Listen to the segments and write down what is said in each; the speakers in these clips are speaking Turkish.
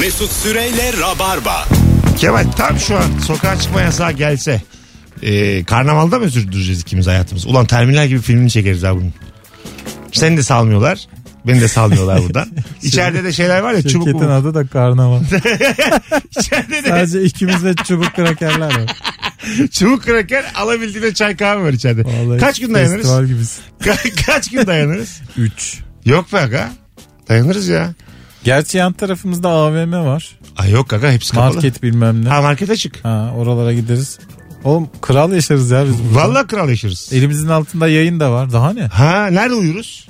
Mesut Süreyle Rabarba. Kemal tam şu an sokağa çıkma yasağı gelse e, karnavalda mı sürdüreceğiz ikimiz hayatımız? Ulan terminal gibi filmini çekeriz ha bunun. Seni de salmıyorlar. Beni de salmıyorlar burada. İçeride de şeyler var ya çubuk Şey- Şirketin mu? adı da karnaval. İçeride de Sadece ikimiz ve çubuk krakerler var. çubuk kraker alabildiğine çay kahve var içeride. Vallahi Kaç gün dayanırız? Festival gibisin. Ka- Kaç gün dayanırız? 3. Yok be aga. Dayanırız ya. Gerçi yan tarafımızda AVM var. Ay yok aga hepsi kapalı. Market bilmem ne. Ha market açık. Ha, oralara gideriz. Oğlum kral yaşarız ya biz. burada. Vallahi kral yaşarız. Elimizin altında yayın da var. Daha ne? Ha nerede uyuruz?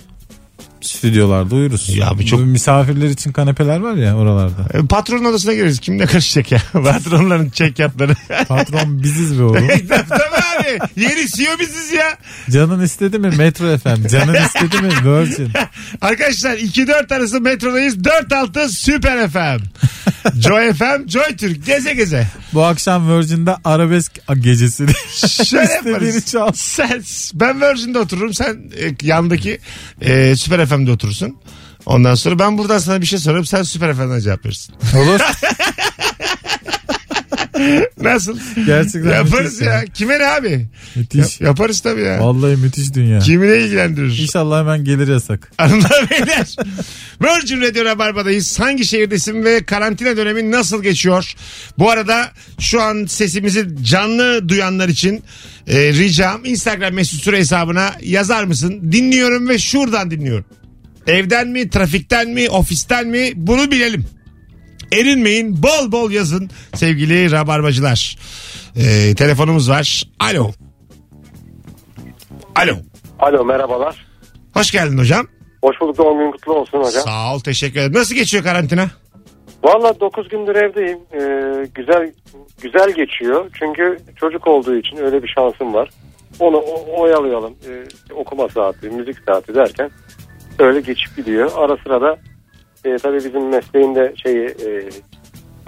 Stüdyolarda uyuruz. Ya bu çok- Bu misafirler için kanepeler var ya oralarda. E, Patronun odasına gireriz. Kimle karışacak ya? Patronların çek yatları. Patron biziz be oğlum. tabii tabii abi. Yeni CEO biziz ya. Canın istedi mi Metro FM? Canın istedi mi Virgin? Arkadaşlar 2-4 arası metrodayız. 4-6 Süper FM. Joy FM, Joy Türk. Geze geze. Bu akşam Virgin'de arabesk gecesi. Şöyle İstediğini çal. yaparız. Sen, ben Virgin'de otururum. Sen e, yandaki e, Süper FM'de oturursun. Ondan sonra ben buradan sana bir şey sorarım. Sen Süper FM'den cevap verirsin. Olur. Nasıl? Gerçekten şey Yaparız müthiş ya. Kime ne abi? Müthiş. Yaparız tabii ya. şey- Vallahi müthiş dünya. Kimine ilgilendirir? İnşallah hemen gelir yasak. Hanımlar beyler. Virgin Radio Rabarba'dayız. Hangi şehirdesin ve karantina dönemi nasıl geçiyor? Bu arada şu an sesimizi canlı duyanlar için e, ricam Instagram mesut süre hesabına yazar mısın? Dinliyorum ve şuradan dinliyorum. Evden mi, trafikten mi, ofisten mi bunu bilelim. Erinmeyin bol bol yazın sevgili rabarbacılar. E, telefonumuz var. Alo. Alo. Alo merhabalar. Hoş geldin hocam. Hoş bulduk doğum gün kutlu olsun hocam. Sağ ol teşekkür ederim. Nasıl geçiyor karantina? Valla 9 gündür evdeyim. Ee, güzel güzel geçiyor. Çünkü çocuk olduğu için öyle bir şansım var. Onu o- oyalayalım. Ee, okuma saati, müzik saati derken öyle geçip gidiyor. Ara sıra da e, tabii bizim mesleğinde şeyi e,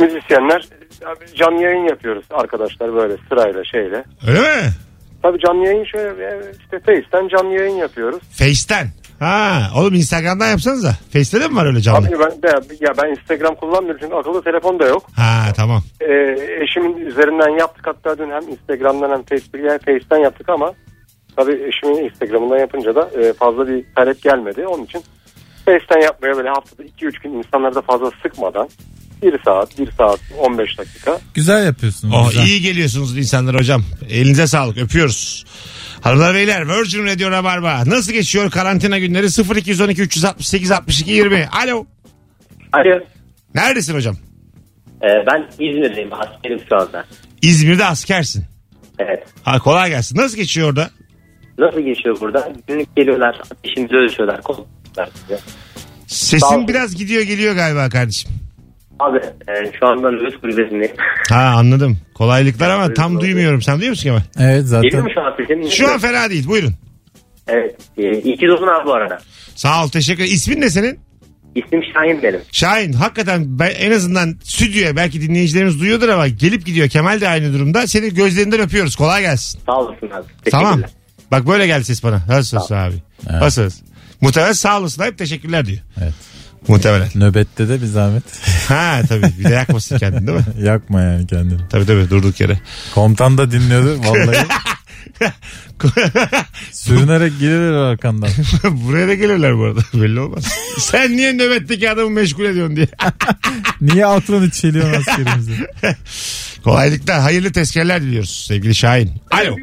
müzisyenler e, canlı yayın yapıyoruz arkadaşlar böyle sırayla şeyle. Öyle mi? Tabii canlı yayın şöyle e, işte Face'ten canlı yayın yapıyoruz. Face'ten. Ha oğlum Instagram'dan yapsanız da. Face'te de mi var öyle canlı? Abi ben, ben- ya ben Instagram kullanmıyorum çünkü akıllı telefon da yok. Ha tamam. Ee, eşimin üzerinden yaptık hatta dün hem Instagram'dan hem Facebook'tan hem Face'ten yaptık ama tabii eşimin Instagram'ından yapınca da e, fazla bir talep gelmedi. Onun için Face'ten yapmaya böyle haftada 2-3 gün insanları da fazla sıkmadan 1 saat 1 saat 15 dakika. Güzel yapıyorsun. Oh, güzel. iyi geliyorsunuz insanlar hocam. Elinize sağlık öpüyoruz. Hanımlar beyler Virgin Radio Rabarba. Nasıl geçiyor karantina günleri 0212 368 62 20. Alo. Alo. Neredesin hocam? Ee, ben İzmir'deyim. Askerim şu anda. İzmir'de askersin. Evet. Ha, kolay gelsin. Nasıl geçiyor orada? Nasıl geçiyor burada? Günlük geliyorlar. Ateşimizi ölçüyorlar. Koltuklar. Sağ Sesin olun. biraz gidiyor geliyor galiba kardeşim. Abi e, şu anda nöbet kulübesindeyim. Ha anladım. Kolaylıklar ama tam duymuyorum. Sen duyuyor musun Kemal? Evet Geliyor mu zaten. şu an sesim? Şu an fena değil. Buyurun. Evet. E, iyi ki doğdun abi bu arada. Sağ ol teşekkür İsmin ne senin? İsmim Şahin benim. Şahin hakikaten ben, en azından stüdyoya belki dinleyicilerimiz duyuyordur ama gelip gidiyor. Kemal de aynı durumda. Seni gözlerinden öpüyoruz. Kolay gelsin. Sağ olasın abi. Tamam. Teşekkürler. Bak böyle geldi ses bana. Nasılsın abi? Nasılsın? Muhtemelen sağ olasın hep teşekkürler diyor. Evet. Muhtemelen. Nöbette de bir zahmet. Ha tabii bir de yakmasın kendini değil mi? Yakma yani kendini. Tabii tabii durduk yere. Komutan da dinliyordu. Vallahi sürünerek gelirler arkandan. Buraya da gelirler bu arada belli olmaz. Sen niye nöbetteki adamı meşgul ediyorsun diye. Niye aklını çeliyorsun askerimizi? Kolaylıklar hayırlı tezkereler diliyoruz sevgili Şahin. Alo.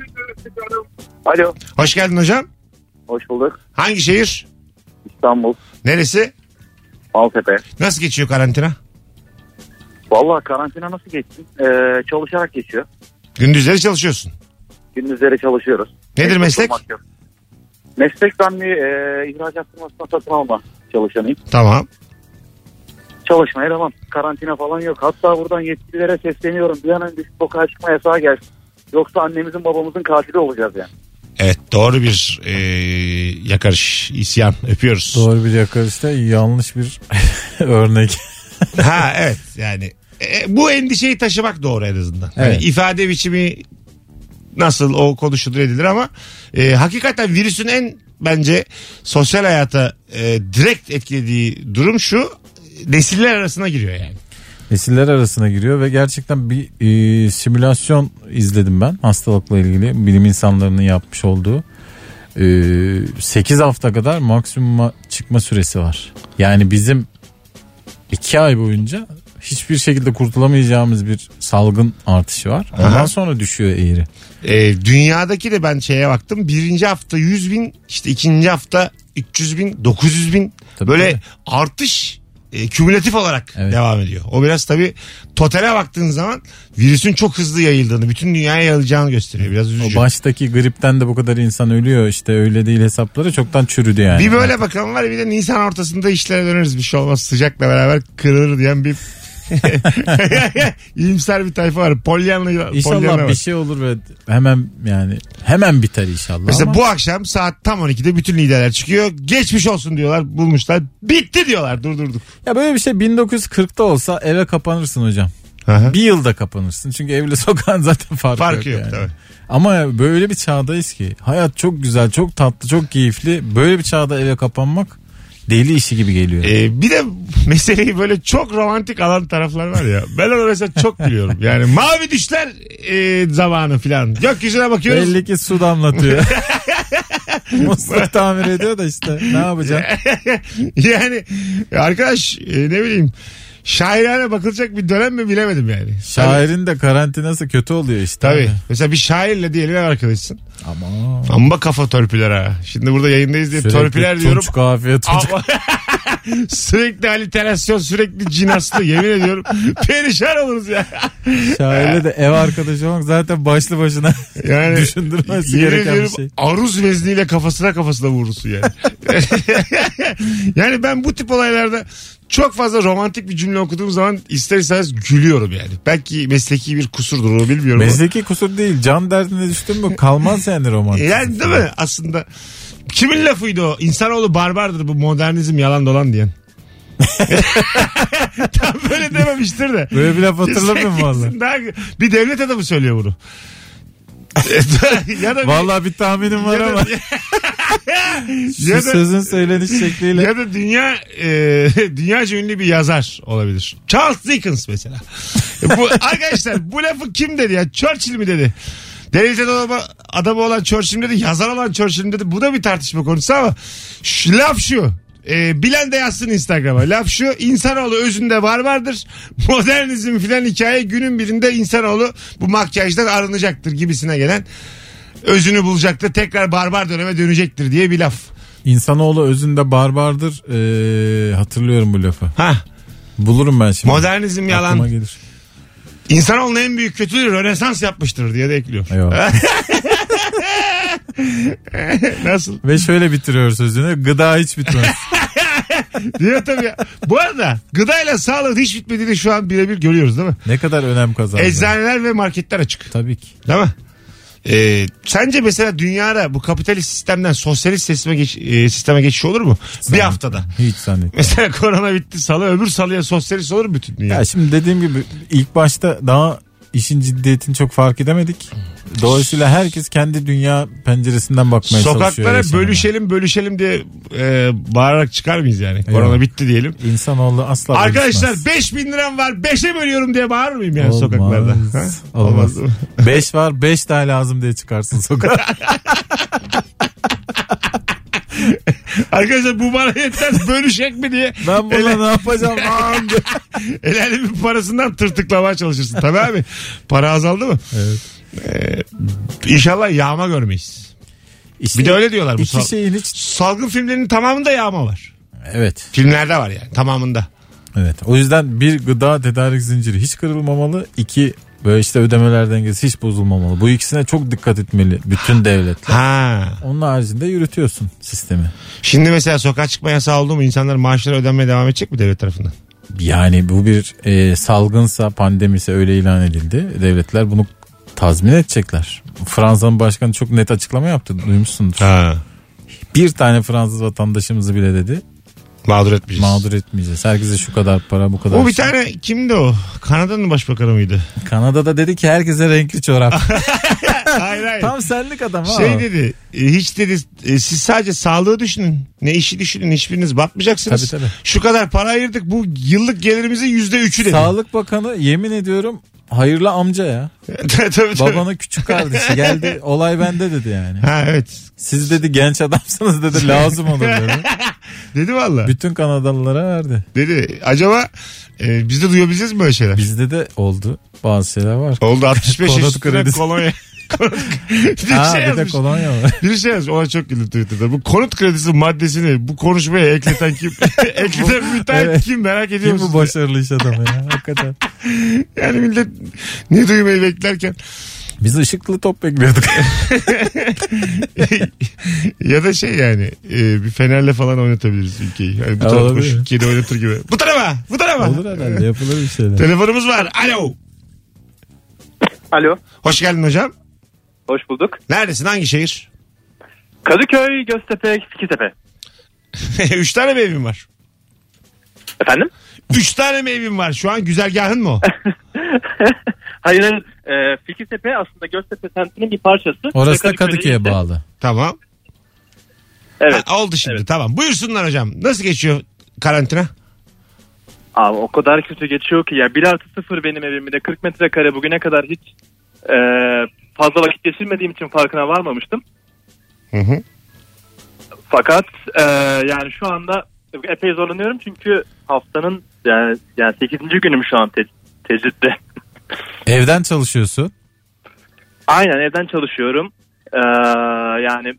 Alo. Hoş geldin hocam. Hoş bulduk. Hangi şehir? İstanbul. Neresi? Maltepe. Nasıl geçiyor karantina? Vallahi karantina nasıl geçti? Ee, çalışarak geçiyor. Gündüzleri çalışıyorsun. Gündüzleri çalışıyoruz. Nedir meslek? olmak yok. Meslek ben bir e, ihracat firmasına satın alma çalışanıyım. Tamam. Çalışmaya devam. Karantina falan yok. Hatta buradan yetkililere sesleniyorum. Bir an önce şu sokağa çıkma yasağı gelsin. Yoksa annemizin babamızın katili olacağız yani. Evet doğru bir e, yakarış, isyan öpüyoruz. Doğru bir yakarışta yanlış bir örnek. Ha evet yani e, bu endişeyi taşımak doğru en azından. Evet. Hani ifade biçimi nasıl o konuşulur edilir ama e, hakikaten virüsün en bence sosyal hayata e, direkt etkilediği durum şu nesiller arasına giriyor yani. nesiller arasına giriyor ve gerçekten bir e, simülasyon izledim ben hastalıkla ilgili bilim insanlarının yapmış olduğu. E, 8 hafta kadar maksimuma çıkma süresi var. Yani bizim 2 ay boyunca hiçbir şekilde kurtulamayacağımız bir salgın artışı var. Ondan Aha. sonra düşüyor eğri. Ee, dünyadaki de ben şeye baktım. Birinci hafta 100 bin işte ikinci hafta 300 bin 900 bin Tabii, böyle tabii. artış e, kümülatif olarak Evet. devam ediyor. O biraz tabii totale baktığın zaman virüsün çok hızlı yayıldığını bütün dünyaya yayılacağını gösteriyor. Biraz üzücü. O baştaki gripten de bu kadar insan ölüyor işte öyle değil hesapları çoktan çürüdü yani. Bir böyle bakalım var bir de Nisan ortasında işlere döneriz bir şey olmaz sıcakla beraber kırılır diyen bir İyimser bir tayfa var. Polyanlı, Pollyanna İnşallah var. bir şey olur ve hemen yani hemen biter inşallah. Mesela ama bu akşam saat tam 12'de bütün liderler çıkıyor. Geçmiş olsun diyorlar bulmuşlar. Bitti diyorlar durdurduk. ya böyle bir şey 1940'ta olsa eve kapanırsın hocam. Bir yılda kapanırsın. Çünkü evle sokağın zaten farkı, Farkı yok yok. yani. tabii. Ama böyle bir çağdayız ki hayat çok güzel, çok tatlı, çok keyifli. Böyle bir çağda eve kapanmak deli işi gibi geliyor. Ee, bir de meseleyi böyle çok romantik alan taraflar var ya. Ben ona mesela çok gülüyorum. Yani mavi düşler e, zamanı filan. Gökyüzüne bakıyoruz. Belli ki su damlatıyor. Musluk tamir ediyor da işte ne E, yapacağım? Yani arkadaş e, ne bileyim şairane bakılacak bir dönem mi bilemedim yani. Şairin de karantinası kötü oluyor işte. Tabii. Mesela bir şairle diyelim ev arkadaşsın. Ama Amba kafa törpüler ha. Şimdi burada yayındayız diye törpüler diyorum. Tunç kahveye tunç Ama- sürekli haliterasyon sürekli cinaslı yemin ediyorum. Perişan oluruz ya. Şairle de ev arkadaşı olmak zaten başlı başına Yani düşündürmesi yemin gereken bir ediyorum şey. aruz vezniyle kafasına kafasına vurursun yani. yani ben bu tip olaylarda çok fazla romantik bir cümle okuduğum zaman ister istemez gülüyorum yani. Belki mesleki bir kusurdur onu bilmiyorum. ama- Mesleki kusur değil. Can derdine düştün mü kalmaz yani romantik. yani değil mi aslında? Kimin lafıydı o? İnsanoğlu barbardır bu modernizm yalan dolan diyen. Tam böyle dememiştir de. Böyle bir laf hatırlamıyorum Sen valla. kesin daha- bir devlet adamı söylüyor bunu. ya da bir- Valla bir tahminim var ya da- ama ya şu da- sözün söyleniş şekliyle Ya da dünya e, dünyaca ünlü bir yazar olabilir. Charles Dickens mesela. E, bu, arkadaşlar bu lafı kim dedi ya? Churchill mi dedi? Devlet adamı, adamı olan Churchill mi dedi? Yazar olan Churchill mi dedi? Bu da bir tartışma konusu ama şu, laf şu. E, bilen de yazsın Instagram'a. Laf şu insanoğlu özünde barbardır. Modernizm filan hikaye günün birinde insanoğlu bu makyajdan arınacaktır gibisine gelen özünü bulacaktır. Tekrar barbar döneme dönecektir diye bir laf. insanoğlu özünde barbardır Ee, hatırlıyorum bu lafı Hah. bulurum ben şimdi Modernizm Aklıma yalan. gelir. İnsanoğlunun en büyük kötülüğü Rönesans yapmıştır diye de ekliyor. Eyvallah. Nasıl? Ve şöyle bitiriyor sözünü. Gıda hiç bitmez. Diyor tabii ya. Bu arada gıdayla sağlığı hiç bitmediğini şu an birebir görüyoruz değil mi? ne kadar önem kazandı. Eczaneler ve marketler açık. Tabii ki. Değil mi? Ee, sence mesela dünyada bu kapitalist sistemden sosyalist sisteme, geç, e, sisteme geçiş olur mu? Bir haftada. Hiç zannetmiyorum. Mesela korona bitti salı öbür salıya sosyalist olur mu bütün dünya? Ya şimdi dediğim gibi ilk başta daha işin ciddiyetini çok fark edemedik. Dolayısıyla herkes kendi dünya penceresinden bakmaya çalışıyor. Sokaklara yaşamına. bölüşelim bölüşelim diye e, bağırarak çıkar mıyız yani? Korona Eyvallah. bitti diyelim. İnsanoğlu asla Arkadaşlar bölüşmez. 5000 liram var 5'e bölüyorum diye bağırır mıyım yani Olmaz. sokaklarda? Ha? Olmaz. değil mi? 5 var 5 daha lazım diye çıkarsın sokağa. Arkadaşlar bu bana yetmez bölüşek mi diye Ben Ele- buna ne yapacağım? lan diye. el alemin parasından tırtıklamaya çalışırsın. Tabii abi para azaldı mı? Evet. Ee, inşallah yağma görmeyiz. İşte Bir de öyle diyorlar bu iki sal- şeyin hiç. salgın filmlerinin tamamında yağma var. Evet. Filmlerde var yani tamamında. Evet. O yüzden bir gıda tedarik zinciri hiç kırılmamalı. İki böyle işte ödemeler dengesi hiç bozulmamalı. Bu ikisine çok dikkat etmeli bütün devletler. Ha. Onun haricinde yürütüyorsun sistemi. Şimdi mesela sokağa çıkma yasağı oldu mu insanlar maaşları ödenmeye devam edecek mi devlet tarafından? Yani bu bir e, salgınsa pandemise öyle ilan edildi. Devletler bunu tazmin edecekler. Fransa'nın başkanı çok net açıklama yaptı. Duymuşsundur. Ha. Bir tane Fransız vatandaşımızı bile dedi. Mağdur etmeyeceğiz. Mağdur etmeyeceğiz. Herkese şu kadar para bu kadar. O bir şey. tane kimdi o? Kanada'nın başbakanı mıydı? Kanada'da dedi ki herkese renkli çorap. hayır hayır. Tam senlik adam ha. şey dedi e, hiç dedi e, siz sadece sağlığı düşünün ne işi düşünün hiçbiriniz batmayacaksınız. Tabii, tabii. Şu kadar para ayırdık bu yıllık gelirimizin yüzde üçü dedi. Sağlık Bakanı yemin ediyorum hayırlı amca ya. tabii, tabii. Babanın küçük kardeşi geldi olay bende dedi yani. Ha evet. Siz dedi genç adamsınız dedi lazım olur dedi. Dedi valla. Bütün Kanadalılara verdi. Dedi acaba e, biz de duyabileceğiz mi böyle şeyler? Bizde de oldu bazı şeyler var. Oldu 65 Konut yaşında kredisi. kolonya. Konut- bir de Ha şey bir de yazmış. kolonya var. Bir şey yazmış. Ona çok güldüm Twitter'da. Bu konut kredisi maddesini bu konuşmaya ekleten kim? ekleten müteahhit Evet. kim merak ediyor Kim musunuz? bu başarılı iş adamı ya hakikaten. Yani millet ne duymayı beklerken Biz ışıklı top bekliyorduk. ya da şey yani e, bir fenerle falan oynatabiliriz ülkeyi. Yani bu Ha, tarafa olabilir. koş, kedi oynatır gibi. Bu tarafa bu tarafa. olur herhalde yapılır bir şeyler. Telefonumuz var. Alo. Alo. Hoş geldin hocam. Hoş bulduk. Neredesin? Hangi şehir? Kadıköy, Göztepe, Fikirtepe. Üç tane mi evin var? Efendim? Üç tane mi evin var? Şu an güzergahın mı o? Hayır hayır. Ee, Fikirtepe aslında Göztepe semtinin bir parçası. Orası da Kadıköy'de Kadıköy'e işte. bağlı. tamam. Evet. Ha, oldu şimdi tamam. Buyursunlar hocam. Nasıl geçiyor karantina? Abi o kadar kötü geçiyor ki ya. 1 artı 0 benim evimde. 40 metrekare bugüne kadar hiç e, fazla vakit geçirmediğim için farkına varmamıştım. Hı hı. Fakat e, yani şu anda epey zorlanıyorum çünkü haftanın yani, yani 8. günüm şu an te- tecrübe. Evden çalışıyorsun. Aynen evden çalışıyorum. Ee, yani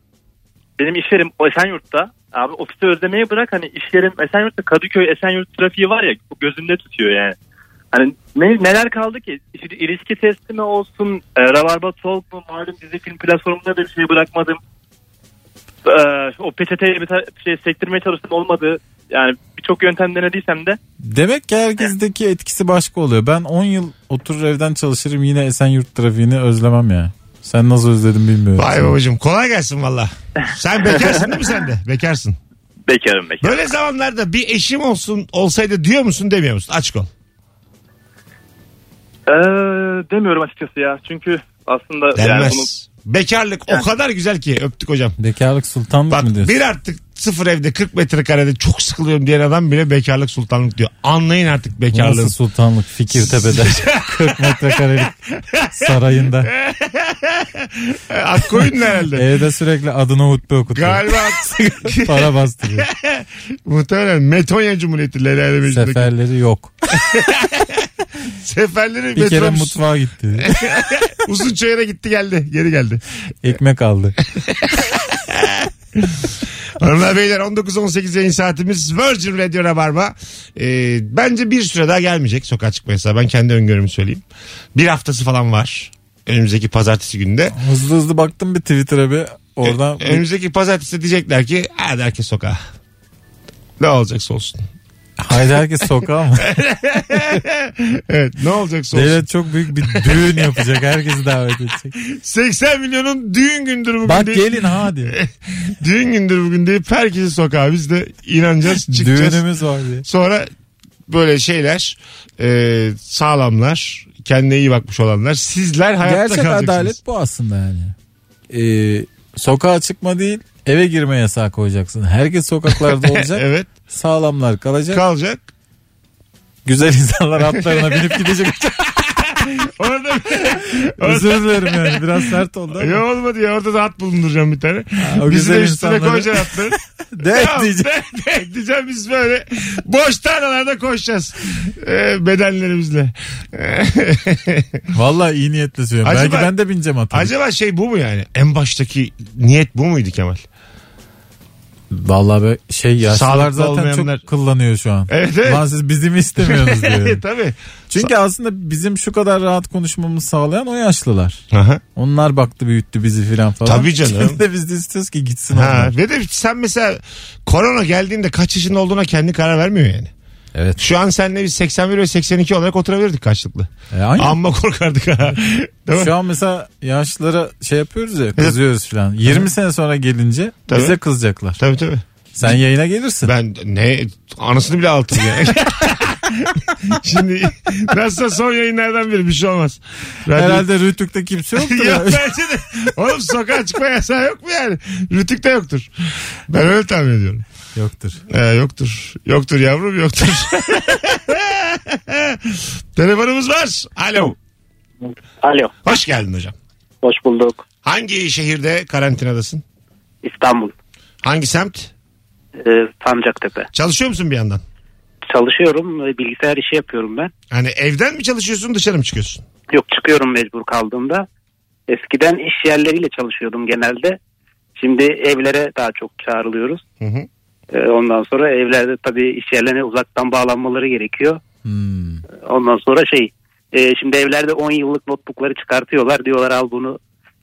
benim iş yerim Esenyurt'ta. Abi ofisi özlemeyi bırak hani iş yerim Esenyurt'ta Kadıköy Esenyurt trafiği var ya bu gözümde tutuyor yani. Hani ne, neler kaldı ki? İşte ilişki testi mi olsun, e, Rabarba Talk mu, malum dizi film platformunda da bir şey bırakmadım. Ee, o peçeteyi bir ta- şey sektirmeye çalıştım olmadı. Yani birçok yöntem denediysem de Demek ki herkesteki etkisi başka oluyor. Ben 10 yıl oturur evden çalışırım yine Esenyurt trafiğini özlemem ya. Sen nasıl özledin bilmiyorum. Vay babacığım kolay gelsin valla. Sen bekarsın değil mi sen de? Bekarsın. bekarım bekarım. Böyle zamanlarda bir eşim olsun olsaydı diyor musun demiyor musun? Açık ol. Ee, demiyorum açıkçası ya. Çünkü aslında yani Denmez. bunu Bekarlık o kadar güzel ki öptük hocam. Bekarlık sultanlık Bak mı diyorsun? bir artık sıfır evde 40 metrekarede çok sıkılıyorum diyen adam bile bekarlık sultanlık diyor. Anlayın artık Bu Nasıl bekarlığı. sultanlık Fikirtepe'de 40 metrekarelik sarayında. Ak E, koyun herhalde. Evde sürekli adına hutbe okutuyor. Galiba ak- Para bastırıyor. muhtemelen Metonya Cumhuriyeti Lelale Meclisi'ndeki Seferleri yok. seferleri Bir kere metrobüs- mutfağa gitti. Uzun çayıra gitti geldi. Geri geldi. Ekmek aldı. Hanımlar beyler 19-18 yayın saatimiz Virgin Radio Rabarba. Ee, bence bir süre daha gelmeyecek sokağa çıkma yasağı. Ben kendi öngörümü söyleyeyim. Bir haftası falan var. Önümüzdeki pazartesi günde. Hızlı hızlı baktım bir Twitter'a bir oradan. E, Önümüzdeki pazartesi diyecekler ki hadi herkes sokağa. Ne olacaksa olsun. Haydi herkes sokağa mı? Evet ne olacaksa olsun. Devlet çok büyük bir düğün yapacak. Herkesi davet edecek. 80 milyonun düğün gündür bugün Bak deyip, gelin ha diyor. düğün gündür bugün deyip herkesi sokağa. Biz de inanacağız çıkacağız. Düğünümüz var diye. Sonra böyle şeyler e, sağlamlar kendine iyi bakmış olanlar sizler hayatta Gerçek kalacaksınız. adalet bu aslında yani. Ee, sokağa çıkma değil eve girme yasağı koyacaksın. Herkes sokaklarda olacak. Evet Sağlamlar kalacak. kalacak. Güzel insanlar atlarına binip gidecek. Orada Özür dilerim yani biraz sert oldu. ama. ya olmadı ya orada da at bulunduracağım bir tane. Bizi o güzel de üstüne insanları- koyacaksın atları. De Tamam, diyecek. de- de- diyeceğim biz böyle boş tarlalarda koşacağız. E, bedenlerimizle. Valla iyi niyetle söylüyorum. Acaba- Belki ben de bineceğim atı. Acaba şey bu mu yani? En baştaki niyet bu muydu Kemal? Valla be şey yaşlılar Sağlıklı zaten olmayanlar- çok kullanıyor şu an. Evet, evet. Lan siz bizi mi istemiyorsunuz diyor. Tabii. Çünkü aslında bizim şu kadar rahat konuşmamızı sağlayan o yaşlılar. Aha. Onlar baktı büyüttü bizi filan falan. Tabii canım. Şimdi de biz de istiyoruz ki gitsin Ha, onlar. ve de sen mesela korona geldiğinde kaç yaşında olduğuna kendi karar vermiyor yani. Evet. Şu an seninle biz 81 ve 82 olarak oturabilirdik karşılıklı. E, aynen. Amma korkardık ha. Değil mi? Şu an mesela yaşlılara şey yapıyoruz ya kızıyoruz filan. 20 sene sonra gelince Tabii. bize kızacaklar. Tabii tabii. Sen yayına gelirsin. Ben ne anasını bile altın ya. Şimdi nasılsa son yayınlardan biri bir şey olmaz. Radyo- Herhalde Rütük'te kimse yoktur. Yok ya. bence de. Oğlum sokağa çıkma yasağı yok mu yani? Rütük'te yoktur. Ben öyle tahmin ediyorum. Yoktur. Ee, yoktur. Yoktur yavrum yoktur. Telefonumuz var. Alo. Alo. Hoş geldin hocam. Hoş bulduk. Hangi şehirde karantinadasın? İstanbul. Hangi semt? E, Sancaktepe. Çalışıyor musun bir yandan? Çalışıyorum. e, Bilgisayar işi yapıyorum ben. Hani evden mi çalışıyorsun dışarı mı çıkıyorsun? Yok çıkıyorum mecbur kaldığımda. Eskiden iş yerleriyle çalışıyordum genelde. Şimdi evlere daha çok çağrılıyoruz. Hı hı. E, Ondan sonra evlerde tabii iş yerlerine uzaktan bağlanmaları gerekiyor. Hmm. Ondan sonra şey e, şimdi evlerde 10 yıllık notebookları çıkartıyorlar. Diyorlar al bunu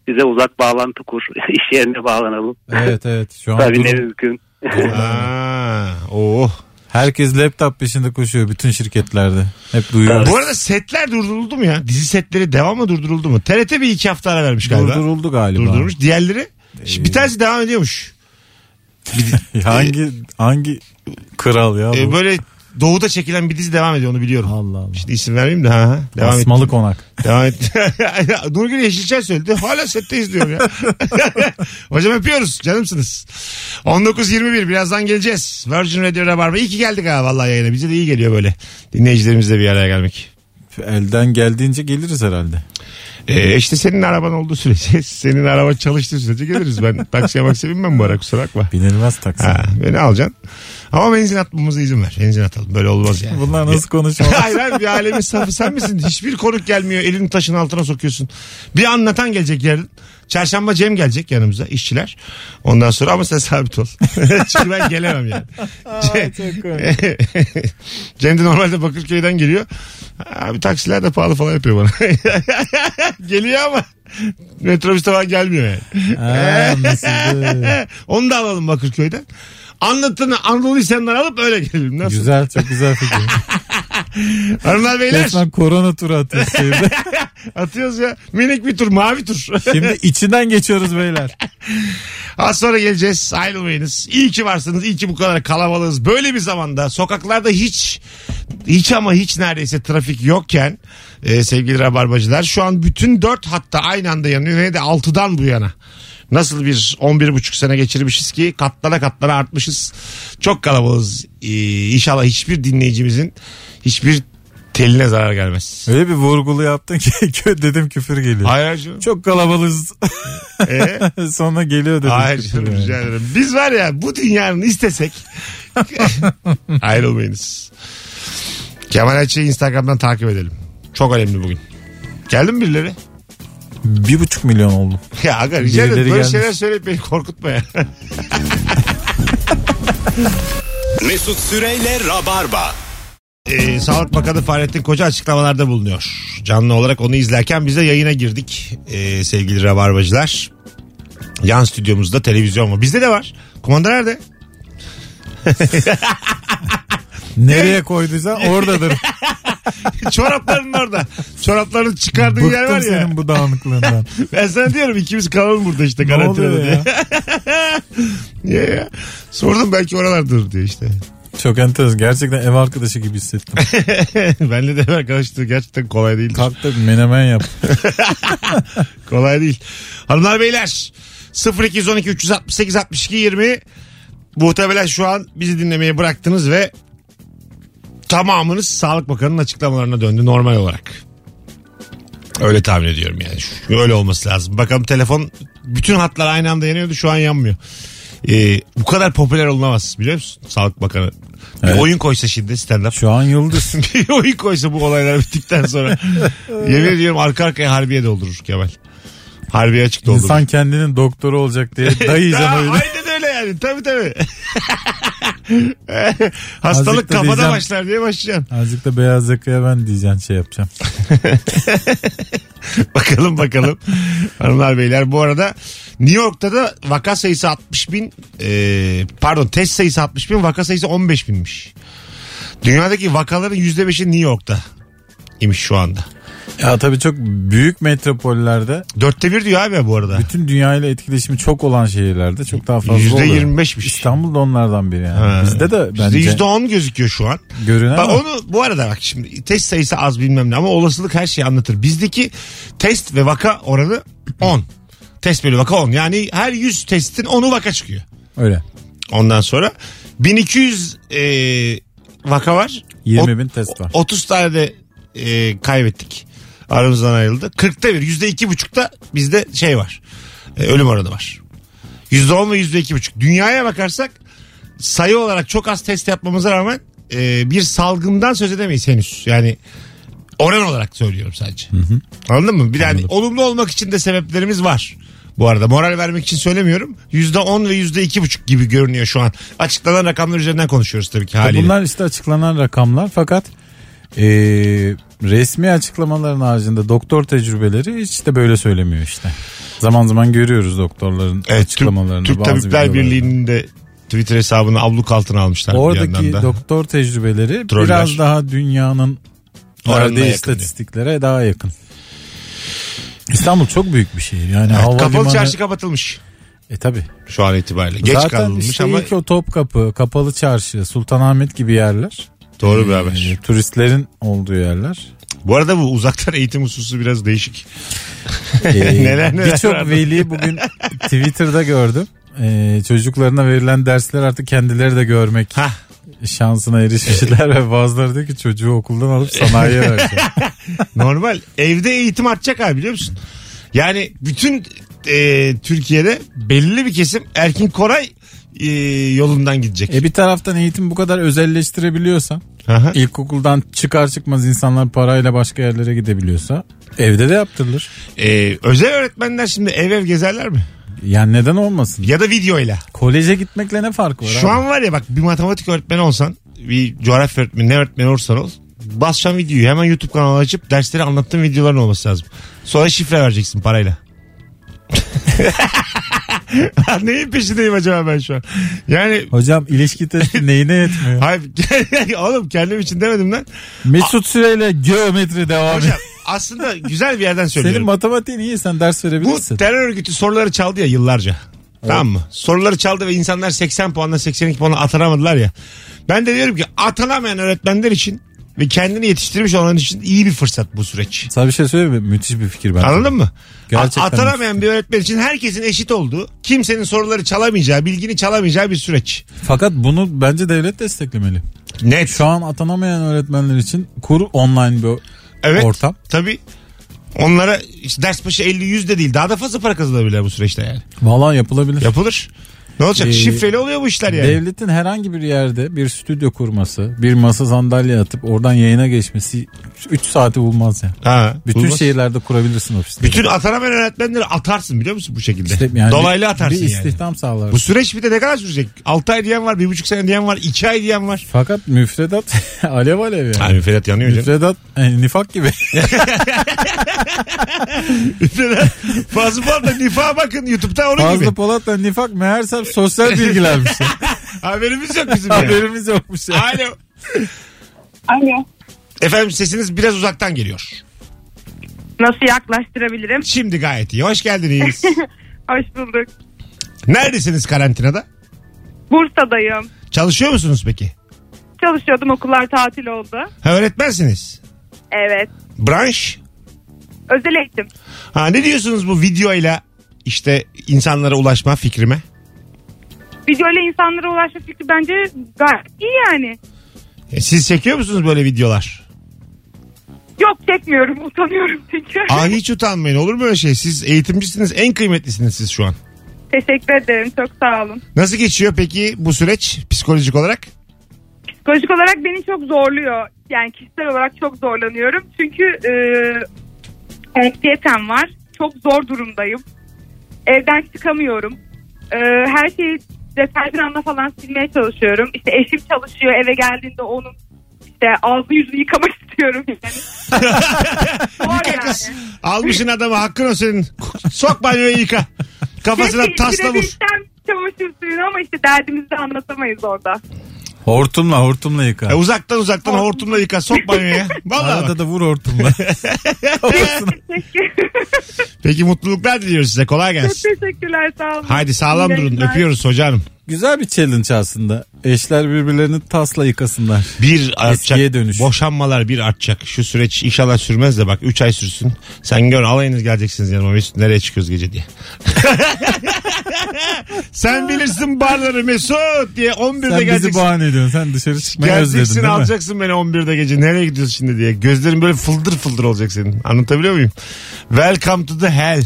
bize uzak bağlantı kur. iş yerine bağlanalım. Evet evet. Şu an tabii ne durum- mümkün. durum- Aa, oh. Herkes laptop peşinde koşuyor bütün şirketlerde. Hep duyuyoruz. Bu arada setler durduruldu mu ya? Dizi setleri devam mı durduruldu mu? TRT bir iki hafta ara vermiş galiba. Durduruldu galiba. Ee, Durdurmuş. Diğerleri? Şimdi bir tanesi devam ediyormuş. Hangi hangi kral ya bu? Ee, böyle doğuda çekilen bir dizi devam ediyor onu biliyorum. Allah Allah. Şimdi isim vermeyeyim de ha, ha. Devam et. Asmalı konak. Devam et. Nurgül Yeşilçay söyledi. Hala setteyiz diyorum ya. Hocam öpüyoruz. Canımsınız. 19.21 birazdan geleceğiz. Virgin Radio Rabarba. İyi ki geldik ha vallahi yayına. Bize de iyi geliyor böyle. Dinleyicilerimizle bir araya gelmek. Elden geldiğince geliriz herhalde. Ee, işte senin araban olduğu sürece, senin araba çalıştığı sürece geliriz. Ben taksiye maksiye binmem bu ara kusura bakma. Binilmez taksi. Ha, beni alacaksın. Ama benzin atmamıza izin ver. Benzin atalım. Böyle olmaz yani. Bunlar nasıl konuşmalar? Hayır abi bir alemin safı sen misin? Hiçbir konuk gelmiyor. Elini taşın altına sokuyorsun. Bir anlatan gelecek yarın. Çarşamba Cem gelecek yanımıza işçiler. Ondan sonra ama sen sabit ol. Çünkü ben gelemem yani. Cem de normalde Bakırköy'den geliyor. Abi taksiler de pahalı falan yapıyor bana. geliyor ama metrobüs falan gelmiyor yani. Ha, anlaşıldı. Onu da alalım Bakırköy'den. Anlatanı Anadolu İhsan'dan alıp öyle gelelim. Nasıl? güzel çok güzel fikir. Hanımlar beyler Resmen korona turu atıyoruz şehirde. atıyoruz ya. Minik bir tur mavi tur. Şimdi içinden geçiyoruz beyler. Az sonra geleceğiz. Ayrılmayınız. İyi ki varsınız. İyi ki bu kadar kalabalığız. Böyle bir zamanda sokaklarda hiç hiç ama hiç neredeyse trafik yokken e, sevgili rabarbacılar şu an bütün dört hatta aynı anda yanıyor ve de altıdan bu yana. Nasıl bir 11,5 sene geçirmişiz ki katlara katlara artmışız. Çok kalabalığız. Ee, inşallah hiçbir dinleyicimizin hiçbir teline zarar gelmez. Öyle bir vurgulu yaptın ki kö- dedim küfür geliyor. Hayır hayır canım. Çok kalabalığız. Ee? Sonra geliyor dedim. Hayır küfür canım, yani. rica ederim. Biz var ya bu dünyanın istesek ayrılmayınız. Kemal Ayça'yı Instagram'dan takip edelim. Çok önemli bugün. Geldi mi birileri? Bir buçuk milyon oldu. Ya aga rica ederim Birileri böyle gelmiş. şeyler söyleyip beni korkutma ya. Mesut Süreyle Rabarba. Ee, Sağlık Bakanı Fahrettin Koca açıklamalarda bulunuyor. Canlı olarak onu izlerken biz de yayına girdik ee, sevgili rabarbacılar. Yan stüdyomuzda televizyon var. Bizde de var. Kumanda nerede? Nereye koyduysa oradadır. Çoraplarının orada. Çoraplarını çıkardığın yer var Bıktım ya. senin bu dağınıklığından. Ben sana diyorum ikimiz kalalım burada işte ne oluyor karantinada diye. ya? Niye ya? Sordum belki oralardır diye işte. Çok enteresan. Gerçekten ev arkadaşı gibi hissettim. Benle de arkadaşlığı gerçekten kolay değil. Kalk da bir menemen yap. kolay değil. Hanımlar beyler 0212 368 62 20 muhtemelen şu an bizi dinlemeyi bıraktınız ve tamamınız Sağlık Bakanı'nın açıklamalarına döndü normal olarak. Öyle tahmin ediyorum yani. Şu- Öyle olması lazım. Bakalım telefon bütün hatlar aynı anda yanıyordu şu an yanmıyor. Ee, bu kadar popüler olunamaz biliyor musun Sağlık Bakanı? Bir Evet. oyun koysa şimdi stand up Şu an yıldız. bir oyun koysa bu olaylar bittikten sonra. yemin ediyorum arka arkaya harbiye doldurur Kemal. Harbiye açık doldurur. İnsan kendinin doktoru olacak diye Aa, dayayacağım öyle. aynen öyle yani. Tabii tabii. Hastalık Azıcık da kafada diyeceğim. başlar diye başlayacaksın. Azıcık da beyaz yakaya ben diyeceğim şey yapacağım. bakalım bakalım. Hanımlar beyler bu arada New York'ta da vaka sayısı 60 bin e, pardon test sayısı 60 bin vaka sayısı 15 binmiş. Dünyadaki vakaların %5'i New York'ta imiş şu anda. Ya tabii çok büyük metropollerde Dörtte bir diyor abi bu arada. bütün dünyayla etkileşimi çok olan şehirlerde çok daha fazla Yüzde oluyor. yirmi beşmiş. İstanbul da onlardan biri yani. Ha. Bizde de Bizde bence yüzde on gözüküyor şu an. görünen Bak ama onu bu arada bak şimdi test sayısı az bilmem ne ama olasılık her şeyi anlatır. Bizdeki test ve vaka oranı 10. Test bölü vaka 10. Yani her 100 testin 10'u vaka çıkıyor. öyle. Ondan sonra 1200 e, vaka var. 20 Ot- bin test var. 30 tane de e, kaybettik. Aramızdan ayrıldı. 40'ta bir. %2,5'ta bizde şey var. E, ölüm oranı var. %10 ve %2,5. Dünyaya bakarsak sayı olarak çok az test yapmamıza rağmen e, bir salgından söz edemeyiz henüz. Yani oran olarak söylüyorum sadece. Anladın mı? Bir de hani olumlu olmak için de sebeplerimiz var. Bu arada moral vermek için söylemiyorum. %10 ve %2,5 gibi görünüyor şu an. Açıklanan rakamlar üzerinden konuşuyoruz tabii ki haliyle. E, Bunlar işte açıklanan rakamlar fakat e, resmi açıklamaların haricinde doktor tecrübeleri hiç de böyle söylemiyor işte. Zaman zaman görüyoruz doktorların Evet, E, Türk- açıklamalarını. Türk, bazı Tabipler videolarda. Birliği'nin de Twitter hesabını abluk altına almışlar bir Oradaki yandan da. doktor tecrübeleri Troller. biraz daha dünyanın Oranına verdiği yakın istatistiklere daha yakın. İstanbul çok büyük bir şehir. Yani Evet, havalimanı... kapalı çarşı kapatılmış E tabi. şu an itibariyle. Geç Zaten kalınmış işte ama ilk o Topkapı, Kapalı Çarşı, Sultanahmet gibi yerler. doğru bir e, haber. turistlerin olduğu yerler. Bu arada bu uzaktan eğitim hususu biraz değişik. E, Neler neler Birçok vardı. veli bugün Twitter'da gördüm. E, çocuklarına verilen dersler artık kendileri de görmek Hah. şansına erişmişler ve bazıları diyor ki çocuğu okuldan alıp sanayiye vereceğim. Normal. Evde eğitim artacak abi biliyor musun? Yani bütün e, Türkiye'de belli bir kesim Erkin Koray e, yolundan gidecek. E bir taraftan eğitim bu kadar özelleştirebiliyorsan Aha. e, ilkokuldan çıkar çıkmaz insanlar parayla başka yerlere gidebiliyorsa evde de yaptırılır. E, özel öğretmenler şimdi ev ev gezerler mi? Yani neden olmasın? Ya da videoyla. Koleje gitmekle ne farkı var? Şu abi? an var ya bak bir matematik öğretmeni olsan bir coğrafya öğretmeni ne öğretmeni olursan ol basacaksın videoyu hemen YouTube kanalı açıp dersleri anlattığın videoların olması lazım. Sonra şifre vereceksin parayla. Lan Neyin peşindeyim acaba ben şu an? Yani Hocam ilişki testi neyine yetmiyor? hayır, oğlum kendim için demedim lan. Mesut Süreyle geometri devam Hocam ediyor. aslında güzel bir yerden Senin söylüyorum. matematiğin iyi sen ders Bu verebilirsin. terör örgütü soruları çaldı ya yıllarca. Tamam mı? Soruları çaldı ve insanlar 80 puanla 82 puanla atanamadılar ya. Ben de diyorum ki atanamayan öğretmenler için ve kendini yetiştirmiş olan için iyi bir fırsat bu süreç. Sana bir şey söyleyeyim mi? Müthiş bir fikir bence. Anladın mı? Gerçekten A- atanamayan bir öğretmen için herkesin eşit olduğu, kimsenin soruları çalamayacağı, bilgini çalamayacağı bir süreç. Fakat bunu bence devlet desteklemeli. Net. Şu an atanamayan öğretmenler için kur online bir Evet. ortam. Tabii. Onlara işte ders başı 50-100 de değil daha da fazla para kazanabilirler bu süreçte yani. Valla yapılabilir. Yapılır. Ne olacak? Ee, Şifreli oluyor bu işler yani. Devletin herhangi bir yerde bir stüdyo kurması, bir masa sandalye atıp oradan yayına geçmesi 3 saati bulmaz yani. Ha, Bütün bulmaz. şehirlerde kurabilirsin ofisleri. Bütün atanamayan öğretmenleri atarsın biliyor musun bu şekilde? İşte yani Dolaylı bir- atarsın Bir yani. istihdam sağlar. Bu süreç bir de ne kadar sürecek? 6 ay diyen var, 1,5 sene diyen var, 2 ay diyen var. Fakat müfredat alev alev yani. Abi Ferhat yanıyor canım. Müfredat e, nifak gibi. Ferhat fazla fazla nifa bakın YouTube'da onun Fazlı gibi. Polat'la nifak meğerse sosyal bilgilermiş. Haberimiz yok bizim. yani. Haberimiz yokmuş ya. Alo. Alo. Efendim sesiniz biraz uzaktan geliyor. Nasıl yaklaştırabilirim? Şimdi gayet iyi. Hoş geldiniz. Hoş bulduk. Neredesiniz karantinada? Bursa'dayım. Çalışıyor musunuz peki? Çalışıyordum okullar tatil oldu. Ha, öğretmensiniz. Evet. Branş. Özel eğitim. Ha, ne diyorsunuz bu videoyla işte insanlara ulaşma fikrime? Videoyla insanlara ulaşma fikri bence gayet iyi yani. E, siz çekiyor musunuz böyle videolar? Yok çekmiyorum utanıyorum çünkü. Aa, hiç utanmayın olur mu öyle şey? Siz eğitimcisiniz en kıymetlisiniz siz şu an. Teşekkür ederim çok sağ olun. Nasıl geçiyor peki bu süreç psikolojik olarak? Psikolojik olarak beni çok zorluyor. Yani kişisel olarak çok zorlanıyorum. Çünkü e, anksiyetem var. Çok zor durumdayım. Evden çıkamıyorum. E, her şeyi deterjanla falan silmeye çalışıyorum. İşte eşim çalışıyor. Eve geldiğinde onun işte ağzını yüzünü yıkamak istiyorum. Yani. Zor yani. Kız, almışın adamı hakkın o senin. Sok banyoya yıka. Kafasına Keşke tasla vur. indirebilsem Çamaşır suyunu ama işte derdimizi de anlatamayız orada. Hortumla hortumla yıka. E, uzaktan uzaktan hortumla yıka sok banyoya. Vallahi bak. Arada da vur hortumla. Teşekkür- Peki mutluluklar diliyoruz size. Kolay Çok gelsin. teşekkürler sağ olun. Haydi sağlam İyi durun. yayınlar. Öpüyoruz hocanım. Güzel bir challenge aslında. Eşler birbirlerini tasla yıkasınlar. Bir artacak. Eskiye dönüş. Boşanmalar bir artacak. Şu süreç inşallah sürmez de bak 3 ay sürsün. Sen gör alayınız geleceksiniz yanıma Mesut nereye çıkıyoruz gece diye. Sen bilirsin barları Mesut diye 11'de Sen bizi geleceksin. bahane ediyorsun. Sen dışarı çıkmayı özledin Geleceksin değil mi? alacaksın beni 11'de gece. Nereye gidiyorsun şimdi diye. Gözlerin böyle fıldır fıldır olacak senin. Anlatabiliyor muyum? Welcome to the hell.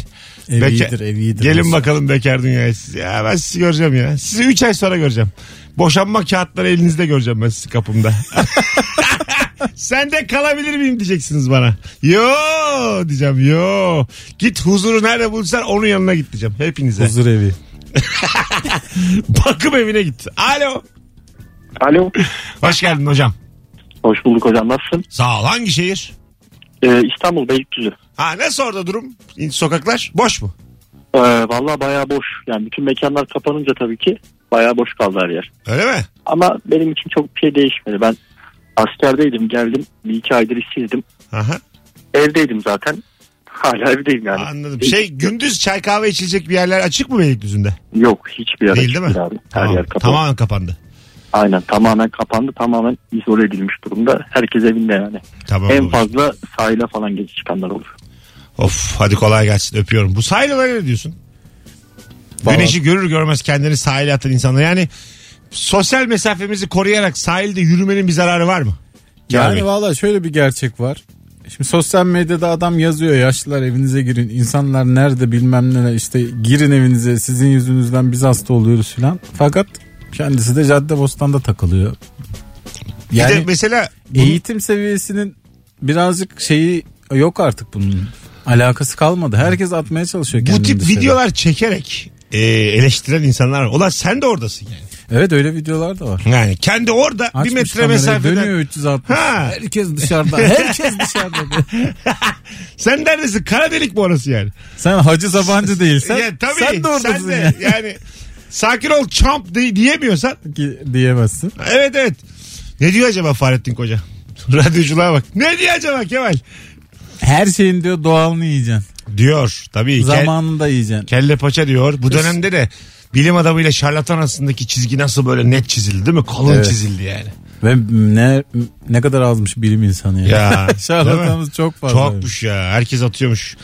Ev Beka- iyidir, ev iyidir. Gelin Mesut. bakalım bekar dünyaya siz. Ya ben sizi göreceğim ya. Sizi 3 ay sonra göreceğim. Boşanma kağıtları elinizde göreceğim ben sizi kapımda. Sen de kalabilir miyim diyeceksiniz bana. Yo diyeceğim yo. Git huzuru nerede bulursan onun yanına git diyeceğim hepinize. Huzur evi. Bakım evine git. Alo. Alo. Hoş geldin hocam. Hoş bulduk hocam. Nasılsın? E, Sağ ol. Hangi şehir? İstanbul Beylikdüzü. Ha nasıl orada durum? Sokaklar boş mu? Ee, Valla bayağı boş. Yani bütün mekanlar kapanınca tabii ki bayağı boş kaldı her yer. Öyle mi? Ama benim için çok bir şey değişmedi. Ben askerdeydim geldim. Bir iki aydır işsizdim. Aha, Evdeydim zaten. Hala evdeyim yani. anladım. Şey gündüz çay kahve içilecek bir yerler açık mı Beylikdüzü'nde? Yok hiçbir yer Değil değil mi? açık değil abi. Her Tamam, yer kapalı. Tamamen kapandı. Aynen tamamen kapandı. Tamamen izole edilmiş durumda. Herkes evinde yani. Tamam. en babacığım. fazla sahile falan gezi çıkanlar olur. Of hadi kolay gelsin öpüyorum. Bu sahil olayı ne diyorsun? Vallahi- Güneşi görür görmez kendini sahile atan insanlar. Yani sosyal mesafemizi koruyarak sahilde yürümenin bir zararı var mı? Kamil. Yani valla şöyle bir gerçek var. Şimdi sosyal medyada adam yazıyor yaşlılar evinize girin. İnsanlar nerede bilmem neler işte girin evinize sizin yüzünüzden biz hasta oluyoruz filan. Fakat kendisi de cadde bostanda takılıyor. bir de Yani mesela eğitim seviyesinin birazcık şeyi yok artık bunun. Alakası kalmadı. Herkes atmaya çalışıyor bu kendini tip dışarı. videolar çekerek e, eleştiren insanlar var. Ulan sen de oradasın yani. Evet öyle videolar da var. Yani kendi orada Açmış bir metre kamerayı, Dönüyor mesafeden. 360. Ha. Herkes dışarıda. Herkes dışarıda. Sen neredesin? Kara delik mi orası yani? sen Hacı Sabancı değilsen ya, tabii, sen de oradasın de. ya. yani. Sakin ol champ de- diyemiyorsan. Ki diyemezsin. Evet evet. Ne diyor acaba Fahrettin Koca? Radyoculuğa bak. Ne diyor acaba Kemal? Her şeyin diyor doğalını yiyeceksin. Diyor tabii. Kel- Zamanında yiyeceksin. kelle paça diyor. Bu dönemde de bilim adamıyla şarlatan arasındaki çizgi nasıl böyle net çizildi değil mi? Kalın Evet. çizildi yani. Ve ne ne kadar azmış bilim insanı ya. Ya, değil Şarlatanımız çok fazla. Çokmuş ya. Herkes atıyormuş.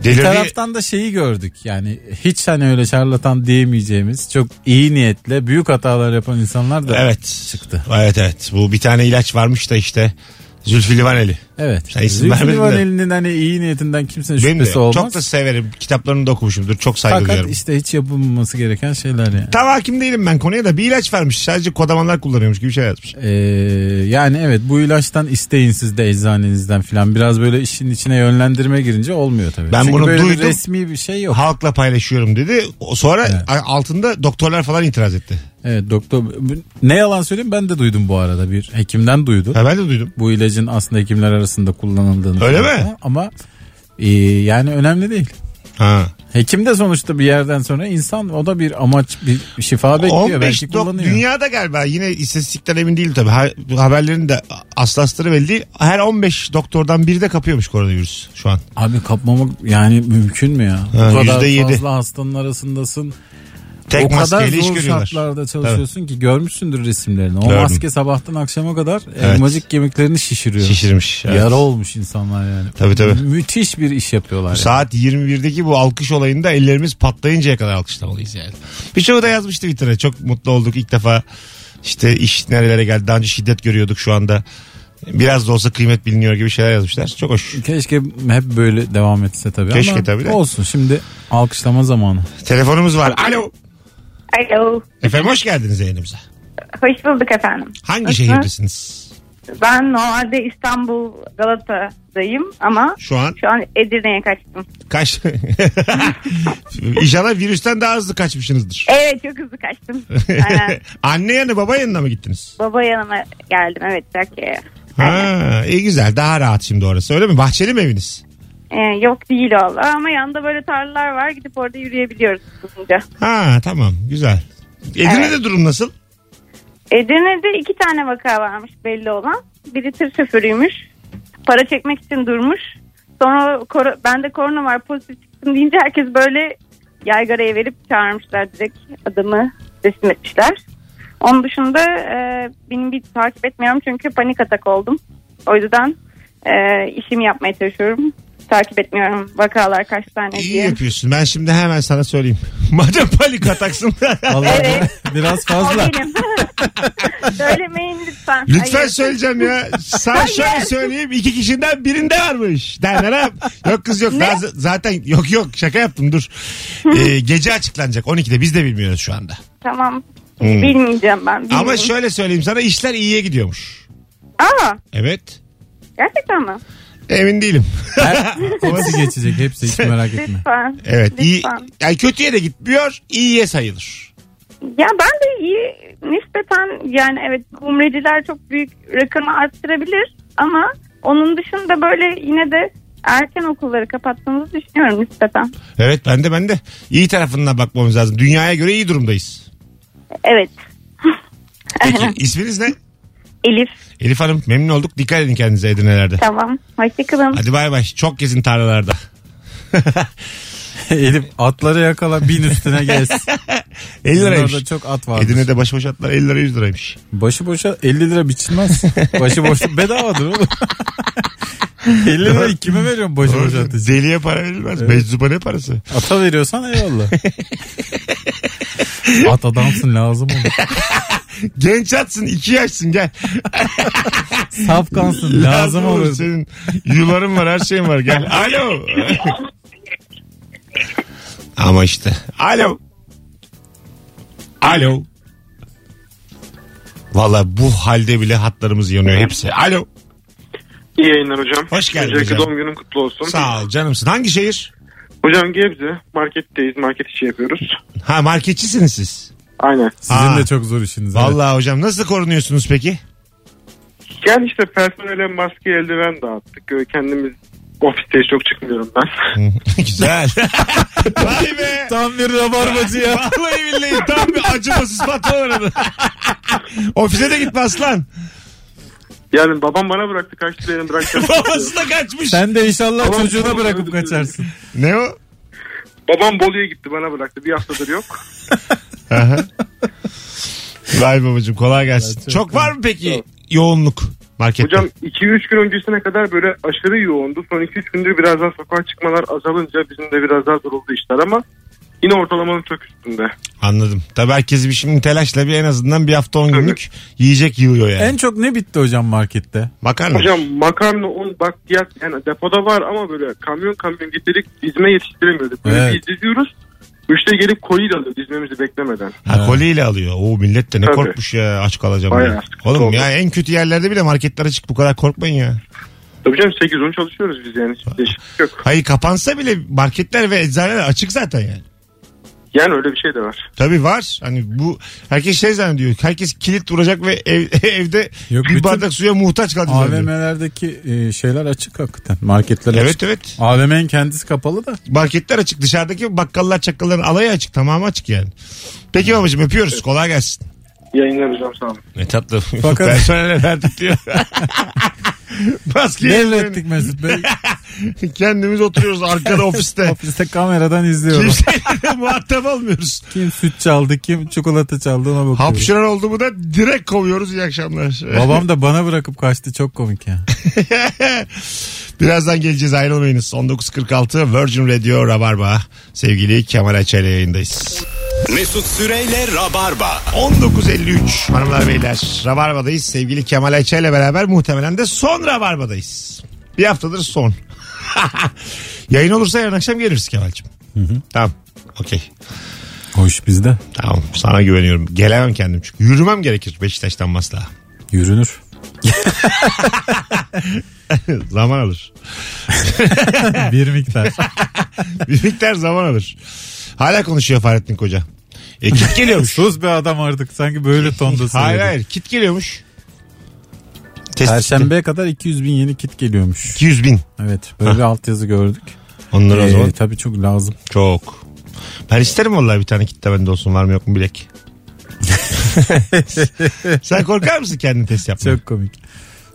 Bir Delirdi. taraftan da şeyi gördük yani hiç hani öyle şarlatan diyemeyeceğimiz çok iyi niyetle büyük hatalar yapan insanlar da Evet. çıktı. Evet evet. Bu bir tane ilaç varmış da işte. Zülfü Livaneli. Evet. Sen isim Zülfü vermedin de. Livaneli'nin hani iyi niyetinden kimsenin Benim de şüphesi olmaz. çok da severim. Kitaplarını da okumuşumdur. Çok saygı Fakat duyarım. işte hiç yapılmaması gereken şeyler yani. Tam hakim değilim ben konuya da bir ilaç vermiş. Sadece kodamanlar kullanıyormuş gibi şey yazmış. Ee, yani evet bu ilaçtan isteyin siz de eczanenizden filan. Biraz böyle işin içine yönlendirme girince olmuyor tabii. Ben Çünkü bunu böyle bir duydum. resmi bir şey yok. Halkla paylaşıyorum dedi. O- Sonra Evet. a- altında doktorlar falan itiraz etti. Evet doktor ne yalan söyleyeyim ben de duydum bu arada bir hekimden duydum. Ha, ben de duydum. Bu ilacın aslında hekimler arasında kullanıldığını. Öyle falan. mi? Ama e, yani önemli değil. Ha. Hekim de sonuçta bir yerden sonra insan o da bir amaç bir şifa bekliyor 15 belki dok kullanıyor. dünyada galiba yine istatistikten emin değilim tabii. Ha- haberlerin de aslasları belli değil. Her 15 doktordan biri de kapıyormuş koronavirüs şu an. Abi kapmamak yani mümkün mü ya? Ha, bu kadar %7. fazla hastanın arasındasın. Tek o kadar maskeyle iş zor görüyorlar. şartlarda çalışıyorsun ki görmüşsündür resimlerini. O Gördüm. maske sabahtan akşama kadar Evet. elmacık kemiklerini şişiriyor. Şişirmiş. evet. Yara olmuş insanlar yani. Tabii, tabii. Müthiş bir iş yapıyorlar. yani. Saat 21'deki bu alkış olayında ellerimiz patlayıncaya kadar alkışlamalıyız yani. Birçoğu da yazmıştı Twitter'a. Çok mutlu olduk ilk defa. işte iş nerelere geldi. Daha önce şiddet görüyorduk şu anda. Biraz da olsa kıymet biliniyor gibi şeyler yazmışlar. Çok hoş. Keşke hep böyle devam etse tabii Keşke ama tabii de. olsun şimdi alkışlama zamanı. Telefonumuz var. Alo. Alo. Efendim hoş geldiniz yayınımıza. Hoş bulduk efendim. Hangi Nasılsınız? şehirdesiniz Ben normalde İstanbul Galata'dayım ama şu an? şu an Edirne'ye kaçtım. Kaç? İnşallah virüsten daha hızlı kaçmışsınızdır. Evet çok hızlı kaçtım. Aynen. Anne yanı baba yanına mı gittiniz? Baba yanıma geldim evet Trakya'ya. Ha, iyi güzel daha rahat şimdi orası öyle mi? Bahçeli mi eviniz? Ee, yok değil valla ama yanında böyle tarlalar var gidip orada yürüyebiliyoruz kızınca. Ha tamam güzel. Edirne'de durum nasıl? Edirne'de iki tane vaka varmış belli olan. Biri tır şoförüymüş. Para çekmek için durmuş. Sonra kor- bende korona var pozitif çıktım deyince herkes böyle yaygaraya verip çağırmışlar direkt adamı teslim etmişler. Onun dışında e, benim bir takip etmiyorum çünkü panik atak oldum. O yüzden e, işimi yapmaya çalışıyorum. Takip etmiyorum vakalar kaç tane İyi diye. yapıyorsun. Ben şimdi hemen sana söyleyeyim. Madem panik ataksın. Vallahi Evet. biraz O fazla. benim. Söylemeyin lütfen. Lütfen Hayır. söyleyeceğim ya. Sana şöyle söyleyeyim. iki kişiden birinde varmış. Derler Yok kız yok. Ne? Daha z- zaten yok yok şaka yaptım dur. Ee, gece açıklanacak 12'de biz de bilmiyoruz şu anda. Tamam. Hmm. Bilmeyeceğim ben. Bilmiyorum. Ama şöyle söyleyeyim sana işler iyiye gidiyormuş. Aa, Evet. gerçekten mi? Emin değilim. hepsi geçecek Şey- hepsi hiç merak etme. Lütfen. Evet. iyi, Lütfen. yani kötüye de gitmiyor, iyiye sayılır. Ya ben de iyi nispeten yani evet umreciler çok büyük rakamı arttırabilir ama onun dışında böyle yine de erken okulları kapattığımızı düşünüyorum nispeten. Evet ben de ben de. İyi tarafından bakmamız lazım. Dünyaya göre iyi durumdayız. Evet. Peki isminiz ne? Elif Elif Hanım memnun olduk. Dikkat edin kendinize Edirne'lerde. tamam. Hoşçakalın. Hadi bay bay. Çok gezin tarlalarda. Elif atları yakala bin üstüne gez. 50 liraymış. Bunlarda çok at var. Edirne'de başıboş atlar 50 lira 100 liraymış. Başı boşa 50 lira biçilmez. Başı boş bedavadır oğlum. 50 lira kime veriyorsun başı boşa Doğru. atıcı? Deliye para verilmez. Meczuba ne parası? Ata veriyorsan eyvallah. At adamsın lazım olur. Genç atsın 2 yaşsın gel. Safkansın lazım olur. Senin yuların var her şeyin var gel. Alo. Ama işte. Alo. Alo. Valla bu halde bile hatlarımız yanıyor hepsi. Alo. İyi yayınlar hocam. Hoş geldin Öncelikle hocam. doğum günün kutlu olsun. Sağ ol canımsın. Hangi şehir? Hocam Gebze marketteyiz market işi yapıyoruz. Ha marketçisiniz siz. Aynen. Sizin Aa. de çok zor işiniz. evet. Vallahi hocam nasıl korunuyorsunuz peki? Gel işte personele maske eldiven dağıttık. Ee, Kendimiz ofiste hiç çok çıkmıyorum ben. Güzel. Vay be. Tam bir rabarbacı ya. Vallahi billahi tam bir acımasız patron aradı. Ofise de gitme aslan. Yani babam bana bıraktı kaçtı benim bıraktım. Babası da kaçmış. Sen de inşallah Tamam, çocuğuna tamam, bırakıp özür dilerim. kaçarsın. Ne o? babam Bolu'ya gitti bana bıraktı. Bir haftadır yok. Aha. Vay babacığım kolay gelsin. Çok, var mı peki yoğunluk markette? Hocam 2-3 gün öncesine kadar böyle aşırı yoğundu. Son 2-3 gündür biraz daha sokağa çıkmalar azalınca bizim de biraz daha zor oldu işler ama yine ortalamanın çok üstünde. Anladım. Tabii herkes bir şimdi telaşla bir en azından bir hafta on günlük yiyecek yığıyor yani. En çok ne bitti hocam markette? Makarna. Hocam makarna, un, bakliyat yani depoda var ama böyle kamyon kamyon getirip dizme yetiştiremiyorduk. Böyle Evet. bir diziyoruz. Müşteri gelip koliyi de alıyor dizmemizi beklemeden. Ha, koliyle alıyor. Oo millet de ne Tabii. korkmuş ya aç kalacağım. Bayağı diye. sıkıntı Oğlum oldu. ya en kötü yerlerde bile marketlere çık bu kadar korkmayın ya. Tabii canım 8-10 çalışıyoruz biz yani. Hiçbir değişiklik yok. Hayır kapansa bile marketler ve eczaneler açık zaten yani. Yani öyle bir şey de var. Tabii var. Hani bu herkes şey zannediyor. Herkes kilit vuracak ve ev- evde Yok, bir bütün bardak suya muhtaç kalacak. zannediyor. AVM'lerdeki e, şeyler açık hakikaten. Marketler açık. Evet evet. AVM'nin kendisi kapalı da. Marketler açık. Dışarıdaki bakkallar çakkalların alayı açık. Tamamı açık yani. Peki babacığım öpüyoruz. Kolay gelsin. Hmm. Yayınlar hocam sağ olun. Ne tatlı. Fakat- Personele verdik diyor. Maskeyi Devrettik Mesut Bey. Kendimiz oturuyoruz arkada ofiste. Ofiste kameradan izliyoruz. Kimseyle de muhatap olmuyoruz. Kim süt çaldı, kim çikolata çaldı ona bakıyoruz. Hapşıran oldu mu da direkt kovuyoruz. İyi akşamlar. Babam da bana bırakıp kaçtı çok komik ya. Birazdan geleceğiz ayrılmayınız. 19.46 Virgin Radio Rabarba. Sevgili Kemal Açay'la yayındayız. Mesut Süreyle Rabarba. 19.53 hanımlar beyler. Rabarba'dayız. Sevgili Kemal Açay'la beraber muhtemelen de son Rabarba'dayız. Bir haftadır son. Yayın olursa yarın akşam geliriz Kemal'cim. Tamam. Okey. Hoş bizde. Tamam. Sana güveniyorum. Gelemem kendim çünkü. Yürümem gerekir Beşiktaş'tan Maslak'a. Yürünür. zaman alır. Bir miktar. Bir miktar zaman alır. Hala konuşuyor Fahrettin Koca. E, kit geliyormuş. Sus be adam artık sanki böyle tonda Hayır söyledi. hayır kit geliyormuş. Test Perşembeye kadar 200 bin yeni kit geliyormuş. 200 bin. Evet böyle bir altyazı gördük. Onları o Ee, zaman. tabii çok lazım. Çok. Ben isterim vallahi bir tane kitle bende olsun var mı yok mu bilek. Sen korkar mısın kendini test yapmaya? Çok komik.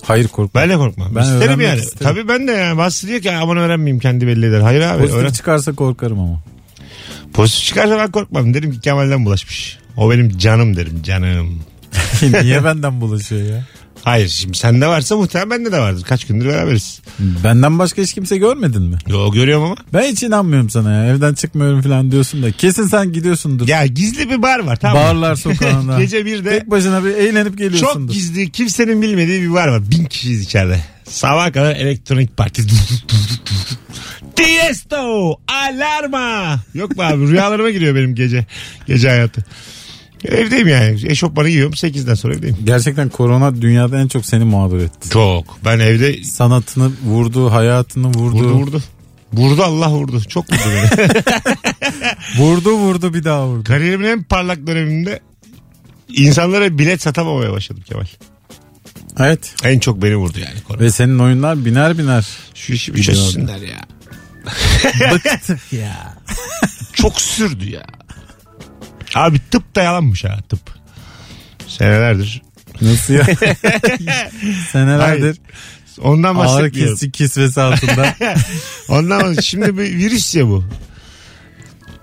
Hayır korkma. Ben de korkmam. Ben isterim öğrenmek yani. isterim. Tabii ben de yani. Bazısı diyor ki aman öğrenmeyeyim kendi belli eder. Hayır abi. Pozitif öğren. çıkarsa korkarım ama. Pozitif çıkarsa ben korkmam. Derim ki Kemal'den bulaşmış. O benim canım derim canım. Niye benden bulaşıyor ya? Hayır şimdi sende varsa muhtemelen bende de vardır. Kaç gündür beraberiz. Benden başka hiç kimse görmedin mi? Yo görüyorum ama. Ben hiç inanmıyorum sana ya. Evden çıkmıyorum falan diyorsun da. Kesin sen gidiyorsundur. Ya gizli bir bar var tamam mı? Barlar sokağında. Gece bir de Tek başına bir eğlenip çok geliyorsundur. gizli kimsenin bilmediği bir bar var. Bin kişiyiz içeride. Sabah kadar elektronik parti. Tiesto alarma. Yok mu abi rüyalarıma giriyor benim gece. Gece hayatı. Evdeyim yani. Eşofmanı giyiyorum. 8'den sonra evdeyim. Gerçekten korona dünyada en çok seni mağdur etti. Çok. Ben evde Sanatını vurdu, hayatını vurdu. vurdu Vurdu vurdu, vurdu. Vurdu Allah vurdu. Çok vurdu beni. vurdu, bir daha vurdu. Kariyerimin en parlak döneminde insanlara bilet satamamaya başladım Kemal. Evet. En çok beni vurdu yani korona. Ve senin oyunlar biner biner. Şu işi bir Biliyorum. çözsünler ya. Bıktık ya. Çok sürdü ya. Abi tıp da yalanmış ha tıp. Senelerdir. Nasıl ya? Hayır, Senelerdir Ondan ağır bahsetmiyorum. kesici kisvesi altında. Ondan bahs- Şimdi bir virüs ya bu.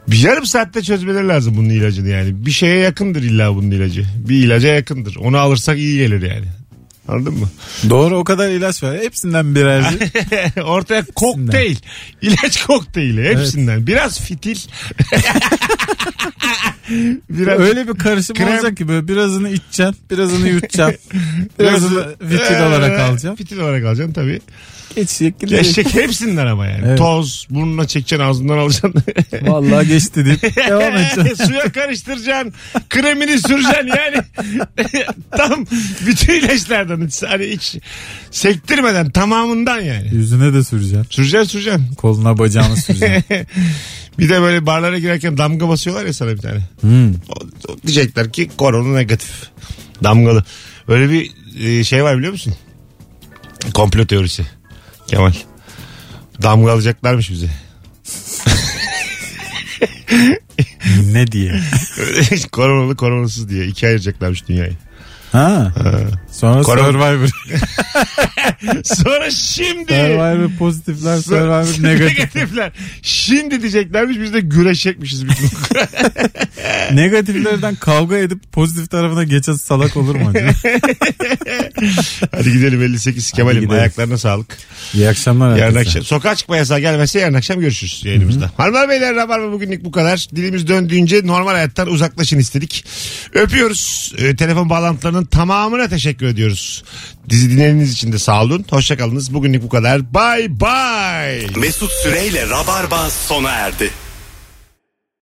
Bir yarım saatte çözmeleri lazım bunun ilacını yani. Bir şeye yakındır illa bunun ilacı. Bir ilaca yakındır. Onu alırsak iyi gelir yani. Anladın mı? Doğru o kadar ilaç var. Hepsinden birer. Ortaya kokteyl. İlaç kokteyli hepsinden. Biraz fitil. Biraz Öyle bir karışım Krem- olacak ki böyle birazını içeceksin, birazını yutacaksın. birazını fitil olarak alacaksın. Fitil olarak alacaksın tabii. Ee, Geçecek gidecek. Geçecek hepsinden ama yani. Evet. Toz, burnuna çekeceksin, ağzından alacaksın. Vallahi geçti deyip devam edeceksin. Suya karıştıracaksın. Kremini süreceksin yani. Tam bütün ilaçlardan iç, hani iç sektirmeden tamamından yani. Yüzüne de süreceksin. Süreceksin süreceksin. Koluna bacağına süreceksin. Bir de böyle barlara girerken damga basıyorlar ya sana bir tane. Hmm. O, o diyecekler ki korona negatif. Damgalı. Öyle bir e, şey var biliyor musun? Komplo teorisi. Kemal. Damga alacaklarmış bize. ne diye. Koronalı koronasız diye ikiye ayıracaklarmış dünyayı. Ha. Sonra Korona- Survivor. Sonra şimdi Survivor pozitifler, Survivor negatif. negatifler. Şimdi diyeceklermiş biz de güreşecekmişiz bütün. Negatiflerden kavga edip pozitif tarafına geçen salak olur mu acaba? Hadi gidelim 58 Kemal'im gidelim. ayaklarına sağlık. İyi akşamlar. Yarın herkese. akşam sokağa çıkma yasağı gelmezse yarın akşam görüşürüz yayınımızda. Hanımlar beyler Rabarba bugünlük bu kadar. Dilimiz döndüğünce normal hayattan uzaklaşın istedik. Öpüyoruz. Ee, telefon bağlantılarının tamamına teşekkür ediyoruz. Dizi dinlediğiniz için de sağ olun. Hoşçakalınız. Bugünlük bu kadar. Bye bye. Mesut Süreyle Rabarba sona erdi.